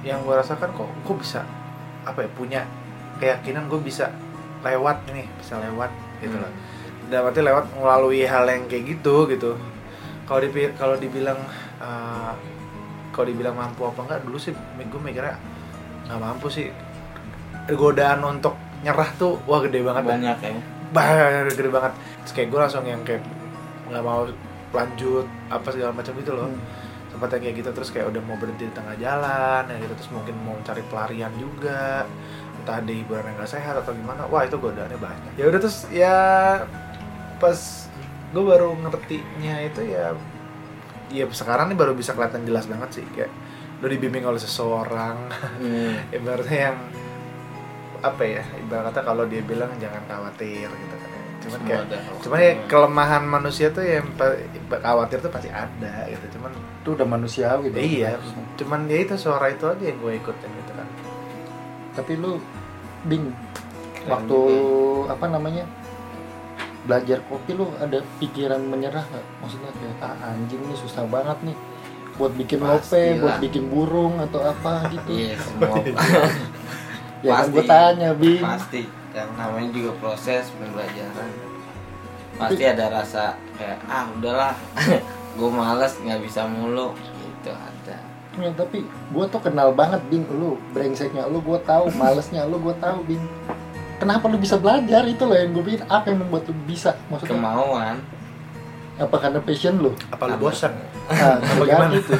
[SPEAKER 2] yang gue rasakan kok gue bisa apa ya punya keyakinan gue bisa lewat nih bisa lewat gitu loh. Dan berarti lewat melalui hal yang kayak gitu gitu. Kalau dipi- kalau dibilang eh, kalau dibilang mampu apa enggak dulu sih gue mikirnya nggak mampu sih godaan untuk nyerah tuh wah gede banget dah
[SPEAKER 3] Banyak ya.
[SPEAKER 2] bah gede banget terus kayak gue langsung yang kayak nggak mau lanjut apa segala macam gitu loh
[SPEAKER 1] Hmm.
[SPEAKER 2] sempat yang kayak gitu terus kayak udah mau berhenti di tengah jalan ya gitu terus mungkin mau cari pelarian juga entah ada hiburan yang nggak sehat atau gimana wah itu godaannya banyak ya udah terus ya pas gue baru ngertinya itu ya ya sekarang nih baru bisa kelihatan jelas banget sih kayak lo dibimbing oleh seseorang
[SPEAKER 3] Hmm.
[SPEAKER 2] ibaratnya yang apa ya ibaratnya kalau dia bilang jangan khawatir gitu kan cuman
[SPEAKER 3] Iya, Semua
[SPEAKER 2] kayak
[SPEAKER 3] ada.
[SPEAKER 2] cuman ya kelemahan manusia tuh yang pa- khawatir tuh pasti ada gitu cuman
[SPEAKER 1] itu udah gitu. manusiawi dong.
[SPEAKER 2] iya cuman ya itu suara itu aja yang gue ikutin gitu kan
[SPEAKER 1] tapi lu bing
[SPEAKER 3] Dan
[SPEAKER 1] waktu apa namanya belajar kopi lu ada pikiran menyerah nggak maksudnya kayak ah anjing nih susah banget nih buat bikin lope
[SPEAKER 3] Pastilah.
[SPEAKER 1] buat bikin burung atau apa gitu
[SPEAKER 3] Iya, semua
[SPEAKER 1] ya kan
[SPEAKER 3] Pasti.
[SPEAKER 1] gue tanya bing
[SPEAKER 3] pasti yang namanya juga proses pembelajaran pasti ada rasa kayak ah udahlah gue males nggak bisa mulu gitu ada
[SPEAKER 1] Ya, tapi gue tuh kenal banget bing lu brengseknya lu gue tahu malesnya lu gue tahu bing kenapa lu bisa belajar itu loh yang gue pikir apa yang membuat lu bisa maksudnya
[SPEAKER 3] kemauan
[SPEAKER 1] apa karena passion lu
[SPEAKER 2] apa lu bosan
[SPEAKER 1] nah,
[SPEAKER 2] Apa gimana?
[SPEAKER 1] itu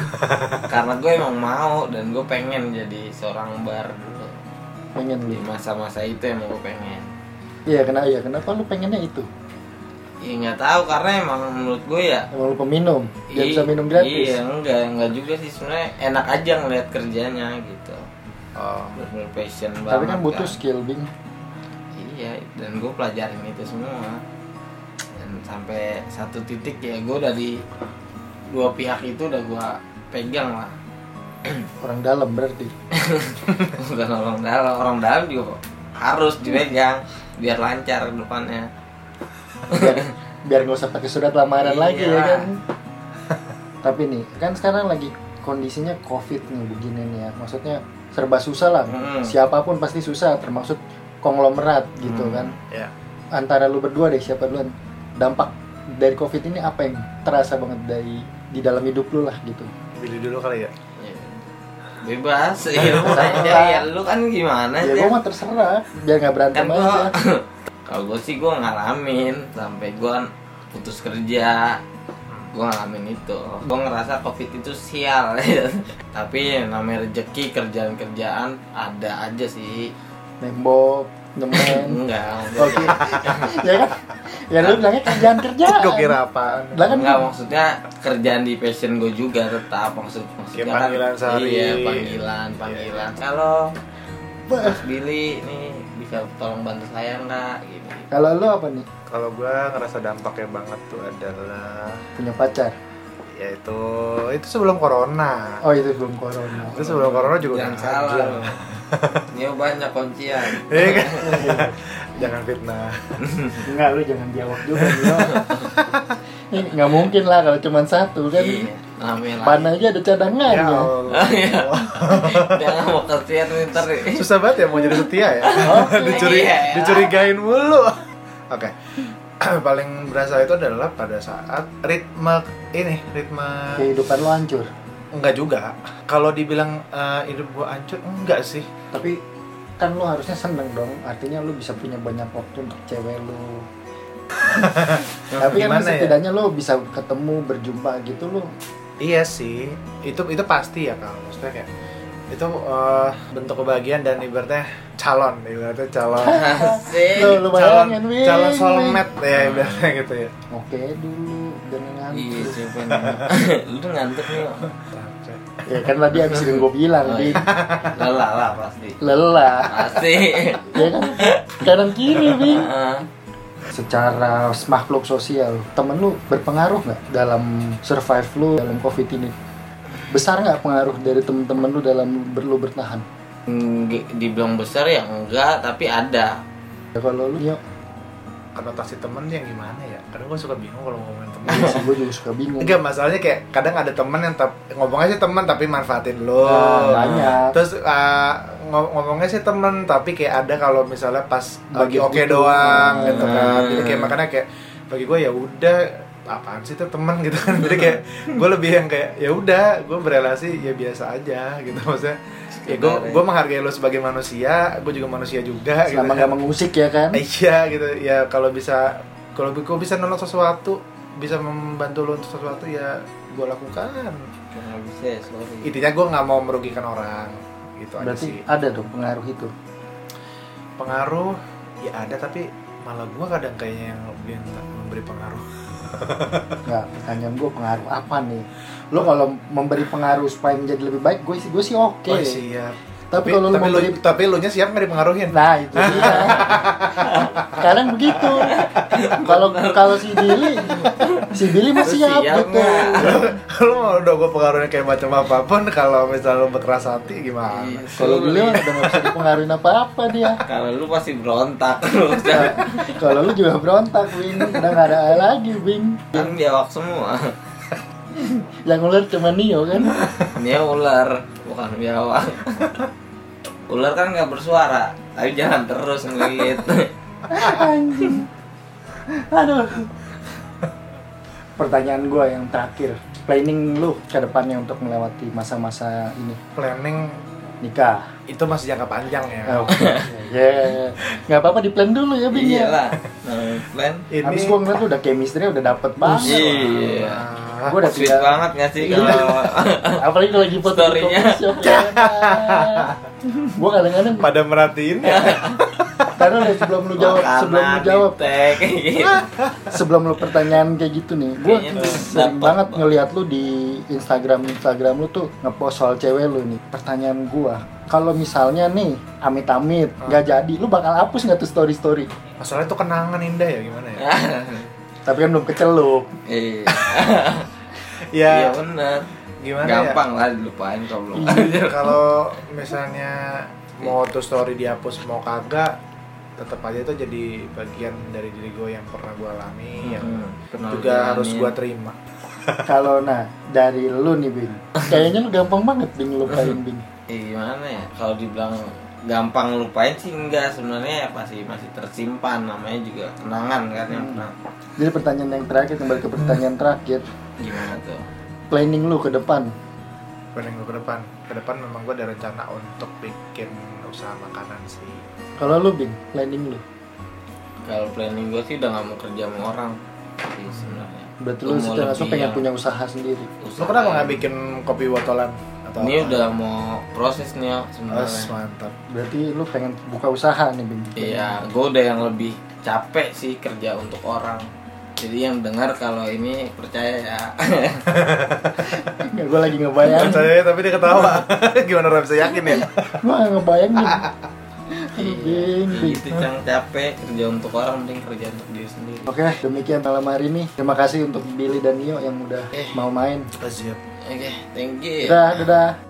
[SPEAKER 3] karena gue emang mau dan gue pengen jadi seorang bar dulu
[SPEAKER 1] pengen lu
[SPEAKER 3] di masa-masa itu emang gue pengen
[SPEAKER 1] iya kenapa ya kenapa lu pengennya itu
[SPEAKER 3] ya nggak tahu karena emang menurut gue ya
[SPEAKER 1] emang lu peminum dia
[SPEAKER 3] i-
[SPEAKER 1] bisa minum gratis
[SPEAKER 3] iya enggak enggak juga sih sebenarnya enak aja ngeliat kerjanya gitu
[SPEAKER 2] oh,
[SPEAKER 3] bener passion banget
[SPEAKER 1] tapi kan butuh skill bing
[SPEAKER 3] iya dan gue pelajarin itu semua dan sampai satu titik ya gue dari dua pihak itu udah gue pegang lah
[SPEAKER 1] orang dalam berarti
[SPEAKER 3] bukan orang dalam orang dalam juga harus dipegang biar lancar ke depannya
[SPEAKER 1] biar biar nggak usah pakai surat lamaran lagi ya
[SPEAKER 3] Iya.
[SPEAKER 1] kan tapi nih kan sekarang lagi kondisinya covid nih begini nih ya maksudnya serba susah lah
[SPEAKER 3] Mm.
[SPEAKER 1] siapapun pasti susah termasuk konglomerat gitu
[SPEAKER 3] Mm.
[SPEAKER 1] kan
[SPEAKER 2] ya
[SPEAKER 1] antara lu berdua deh siapa duluan dampak dari covid ini apa yang terasa banget dari di dalam hidup lu lah gitu
[SPEAKER 2] pilih dulu kali ya
[SPEAKER 1] Iya.
[SPEAKER 3] Ya, bebas ya lu tanya ya lu kan gimana
[SPEAKER 1] ya
[SPEAKER 3] sih
[SPEAKER 1] gua mah terserah biar nggak berantem
[SPEAKER 3] kan
[SPEAKER 1] aja
[SPEAKER 3] gua kalau gue sih gue ngalamin sampai gue putus kerja gue ngalamin itu gue ngerasa covid itu sial tapi yang namanya rejeki kerjaan kerjaan ada aja sih
[SPEAKER 1] nembok nemen
[SPEAKER 3] enggak enggak.
[SPEAKER 1] oke ya kan ya lu bilangnya kerjaan kerjaan
[SPEAKER 2] gue kira apaan
[SPEAKER 1] Lah kan
[SPEAKER 3] Enggak maksudnya kerjaan di passion gue juga tetap maksud maksudnya
[SPEAKER 2] Kayak panggilan sehari. Iya.
[SPEAKER 3] iya panggilan panggilan kalau Mas Billy ini bisa tolong bantu saya nggak gitu
[SPEAKER 1] kalau lu apa nih
[SPEAKER 2] kalau gue ngerasa dampaknya banget tuh adalah
[SPEAKER 1] punya pacar
[SPEAKER 2] yaitu itu sebelum corona
[SPEAKER 1] oh itu belum corona
[SPEAKER 2] itu sebelum corona juga
[SPEAKER 3] jangan
[SPEAKER 2] udah
[SPEAKER 3] salah
[SPEAKER 2] kerja.
[SPEAKER 3] loh. Dia banyak kuncian
[SPEAKER 2] Iya kan? jangan fitnah
[SPEAKER 1] enggak lu jangan jawab juga Nino Ini nggak mungkin lah kalau cuma satu kan
[SPEAKER 3] iya namanya
[SPEAKER 1] pan aja ada cadangannya
[SPEAKER 2] ya Allah.
[SPEAKER 3] Iya. jangan mau kerjaan ntar
[SPEAKER 2] susah banget ya mau jadi setia ya Dicuri-
[SPEAKER 3] Iya, ya.
[SPEAKER 2] dicurigain mulu oke paling berasa itu adalah pada saat ritme ini ritme
[SPEAKER 1] kehidupan lu hancur
[SPEAKER 2] enggak juga kalau dibilang eh, hidup gua hancur enggak sih
[SPEAKER 1] tapi kan lu harusnya seneng dong artinya lu bisa punya banyak waktu untuk cewek lu tapi kan
[SPEAKER 2] Gimana ya?
[SPEAKER 1] setidaknya lu bisa ketemu berjumpa gitu lu
[SPEAKER 2] Iya sih, itu itu pasti ya kalau maksudnya kayak itu eh, bentuk kebahagiaan dan ibaratnya calon, ibaratnya calon,
[SPEAKER 3] asik
[SPEAKER 1] Tuh, lu
[SPEAKER 2] calon,
[SPEAKER 1] bayangin wih,
[SPEAKER 2] calon
[SPEAKER 1] wih.
[SPEAKER 2] soulmate ya ibaratnya gitu ya.
[SPEAKER 1] oke dulu jangan
[SPEAKER 3] iya
[SPEAKER 1] ngantuk
[SPEAKER 3] coba lu tuh ngantuk nih Wak.
[SPEAKER 2] Nah,
[SPEAKER 1] ya kan tadi abis itu gue bilang
[SPEAKER 3] Oh,
[SPEAKER 1] Di,
[SPEAKER 3] iya. lelah lah pasti
[SPEAKER 1] lelah
[SPEAKER 3] pasti
[SPEAKER 1] ya kan kanan kiri bing
[SPEAKER 3] Heeh.
[SPEAKER 1] secara makhluk sosial temen lu berpengaruh nggak dalam survive lu dalam covid ini besar nggak pengaruh dari temen-temen lu dalam ber- lu bertahan
[SPEAKER 3] Nggak- dibilang besar ya enggak tapi ada
[SPEAKER 1] ya kalau lu yuk
[SPEAKER 2] Konotasi temen yang gimana ya? Kadang gue suka bingung kalau ngomongin temen.
[SPEAKER 1] gue iya juga suka bingung
[SPEAKER 2] Enggak masalahnya kayak kadang ada temen yang tep, ngomongnya sih temen tapi manfaatin lo.
[SPEAKER 1] Nah, banyak
[SPEAKER 2] Terus eh, ngo- ngomongnya sih temen tapi kayak ada kalau misalnya pas
[SPEAKER 1] Oh, gitu.
[SPEAKER 2] bagi
[SPEAKER 1] Nah.
[SPEAKER 2] oke doang gitu kan.
[SPEAKER 3] Hmm.
[SPEAKER 2] Jadi kayak makanya kayak bagi gue ya udah apaan sih itu temen gitu kan. Jadi kayak gue lebih yang kayak ya udah gue berelasi ya biasa aja gitu maksudnya. Ya gue
[SPEAKER 3] Sekedar ya.
[SPEAKER 2] gue menghargai lo sebagai manusia, gue juga manusia juga gitu
[SPEAKER 1] selama
[SPEAKER 2] kan.
[SPEAKER 1] nggak mengusik ya kan
[SPEAKER 2] Iya gitu ya kalau bisa kalau gue bisa nolong sesuatu bisa membantu lo untuk sesuatu ya gue lakukan
[SPEAKER 3] Nggak bisa ya, sorry.
[SPEAKER 2] intinya gue nggak mau merugikan orang gitu aja sih
[SPEAKER 1] berarti ada dong pengaruh itu
[SPEAKER 2] pengaruh ya ada tapi malah gue kadang kayaknya yang lebih memberi pengaruh
[SPEAKER 1] nggak pertanyaan gue pengaruh apa nih lu kalau memberi pengaruh supaya menjadi lebih baik gue sih gue sih oke
[SPEAKER 2] Oh, siap
[SPEAKER 1] tapi, kalau lu
[SPEAKER 2] tapi lu
[SPEAKER 1] memberi
[SPEAKER 2] tapi lu nya siap nggak dipengaruhin
[SPEAKER 1] Nah itu dia. Kadang begitu. Kalau kalau si Billy, si Billy masih siap,
[SPEAKER 3] Siap
[SPEAKER 1] gitu.
[SPEAKER 3] nggak?
[SPEAKER 2] lu mau udah gue pengaruhin kayak macam apapun kalau misalnya lu berkeras hati
[SPEAKER 3] Iya,
[SPEAKER 2] gimana
[SPEAKER 1] Kalau
[SPEAKER 3] sulit.
[SPEAKER 1] beliau udah nggak bisa dipengaruhin apa-apa dia.
[SPEAKER 3] kalau lu pasti berontak lu
[SPEAKER 1] Nah, kalau lu juga berontak, Win. Udah nggak ada lagi, Win.
[SPEAKER 3] kan biawak semua
[SPEAKER 1] Yang ular cuma Nio kan.
[SPEAKER 3] dia ular bukan biawak ular kan nggak bersuara tapi jalan terus ngelilit
[SPEAKER 1] Anjing. Aduh. Pertanyaan gue yang terakhir, planning lu ke depannya untuk melewati masa-masa ini.
[SPEAKER 2] planning
[SPEAKER 1] nikah
[SPEAKER 2] itu masih jangka panjang ya
[SPEAKER 1] Eh, oke. ya nggak apa-apa di plan dulu ya bing ya
[SPEAKER 3] Iyalah. Nah, Iya plan.
[SPEAKER 2] ini
[SPEAKER 1] abis gua ngeliat tuh udah chemistry udah dapet banget
[SPEAKER 3] Iya.
[SPEAKER 2] Ah,
[SPEAKER 1] gua udah
[SPEAKER 3] Sweet
[SPEAKER 1] tidak-
[SPEAKER 3] banget nggak sih
[SPEAKER 1] Iya.
[SPEAKER 3] kalau
[SPEAKER 1] apalagi kalau lagi foto di
[SPEAKER 3] Story-nya.
[SPEAKER 1] coffee shop ya. gua kadang-kadang
[SPEAKER 2] pada merhatiin ya
[SPEAKER 1] taruh deh sebelum lu jawab
[SPEAKER 3] Makanan,
[SPEAKER 1] sebelum lu jawab
[SPEAKER 3] ditek, kayak gitu.
[SPEAKER 1] sebelum lu pertanyaan kayak gitu nih gua
[SPEAKER 3] Kayaknya tuh
[SPEAKER 1] sering
[SPEAKER 3] Iya. dapet
[SPEAKER 1] banget
[SPEAKER 3] banget.
[SPEAKER 1] ngeliat lu di Instagram Instagram lu tuh ngepost soal cewek lu nih pertanyaan gua kalau misalnya nih amit-amit
[SPEAKER 3] Hmm.
[SPEAKER 1] nggak jadi lu bakal hapus nggak tuh story story
[SPEAKER 2] masalahnya itu kenangan indah ya gimana
[SPEAKER 3] Ah,
[SPEAKER 2] ya
[SPEAKER 1] tapi kan belum kecelup
[SPEAKER 3] Iya.
[SPEAKER 2] ya
[SPEAKER 3] Iya benar.
[SPEAKER 2] gimana
[SPEAKER 3] Gampang lah dilupain kalau belum.
[SPEAKER 1] Iya.
[SPEAKER 2] ya kalau misalnya mau tuh story dihapus mau kagak tetap aja itu jadi bagian dari diri gue yang pernah gue alami yang
[SPEAKER 3] Hmm, pernah
[SPEAKER 2] juga
[SPEAKER 3] lu jalanin.
[SPEAKER 2] harus gue terima
[SPEAKER 1] kalau nah dari lu nih bing kayaknya lu gampang banget bing lupain bing
[SPEAKER 3] Eh, gimana ya kalau dibilang gampang lupain sih enggak sebenarnya ya masih masih tersimpan namanya juga kenangan kan yang pernah
[SPEAKER 1] jadi pertanyaan yang terakhir kembali ke pertanyaan
[SPEAKER 3] Hmm.
[SPEAKER 1] terakhir
[SPEAKER 3] gimana tuh
[SPEAKER 1] planning lu ke depan
[SPEAKER 2] planning gue ke depan ke depan memang gue ada rencana untuk bikin usaha makanan sih
[SPEAKER 1] kalau lu bing planning lu
[SPEAKER 3] kalau planning gue sih udah gak mau kerja sama orang sih sebenarnya
[SPEAKER 1] berarti
[SPEAKER 3] Gua
[SPEAKER 1] lu
[SPEAKER 3] mau
[SPEAKER 1] secara langsung
[SPEAKER 3] lebih ya.
[SPEAKER 1] pengen
[SPEAKER 3] yang
[SPEAKER 1] punya usaha sendiri
[SPEAKER 2] lo
[SPEAKER 3] usaha.
[SPEAKER 2] kenapa nggak bikin kopi botolan atau
[SPEAKER 3] ini
[SPEAKER 2] apa?
[SPEAKER 3] udah mau proses nih ya
[SPEAKER 2] Terus
[SPEAKER 3] sebenarnya
[SPEAKER 2] mantap
[SPEAKER 1] berarti lu pengen buka usaha nih bing
[SPEAKER 3] iya gue udah yang lebih capek sih kerja untuk orang jadi yang dengar kalau ini percaya ya
[SPEAKER 1] gue lagi ngebayangin
[SPEAKER 2] percaya tapi dia ketawa gimana orang bisa yakin ya
[SPEAKER 1] Gua nggak ngebayangin Aduh,
[SPEAKER 3] Iya,
[SPEAKER 1] Bing, Bing.
[SPEAKER 3] gitu cang capek kerja untuk orang mending kerja untuk diri sendiri
[SPEAKER 1] Oke, demikian malam hari ini. Terima kasih untuk Billy dan Nio yang udah
[SPEAKER 3] Eh. Iya.
[SPEAKER 1] mau main.
[SPEAKER 2] siap
[SPEAKER 3] Oke, thank you.
[SPEAKER 1] Dadah, dadah.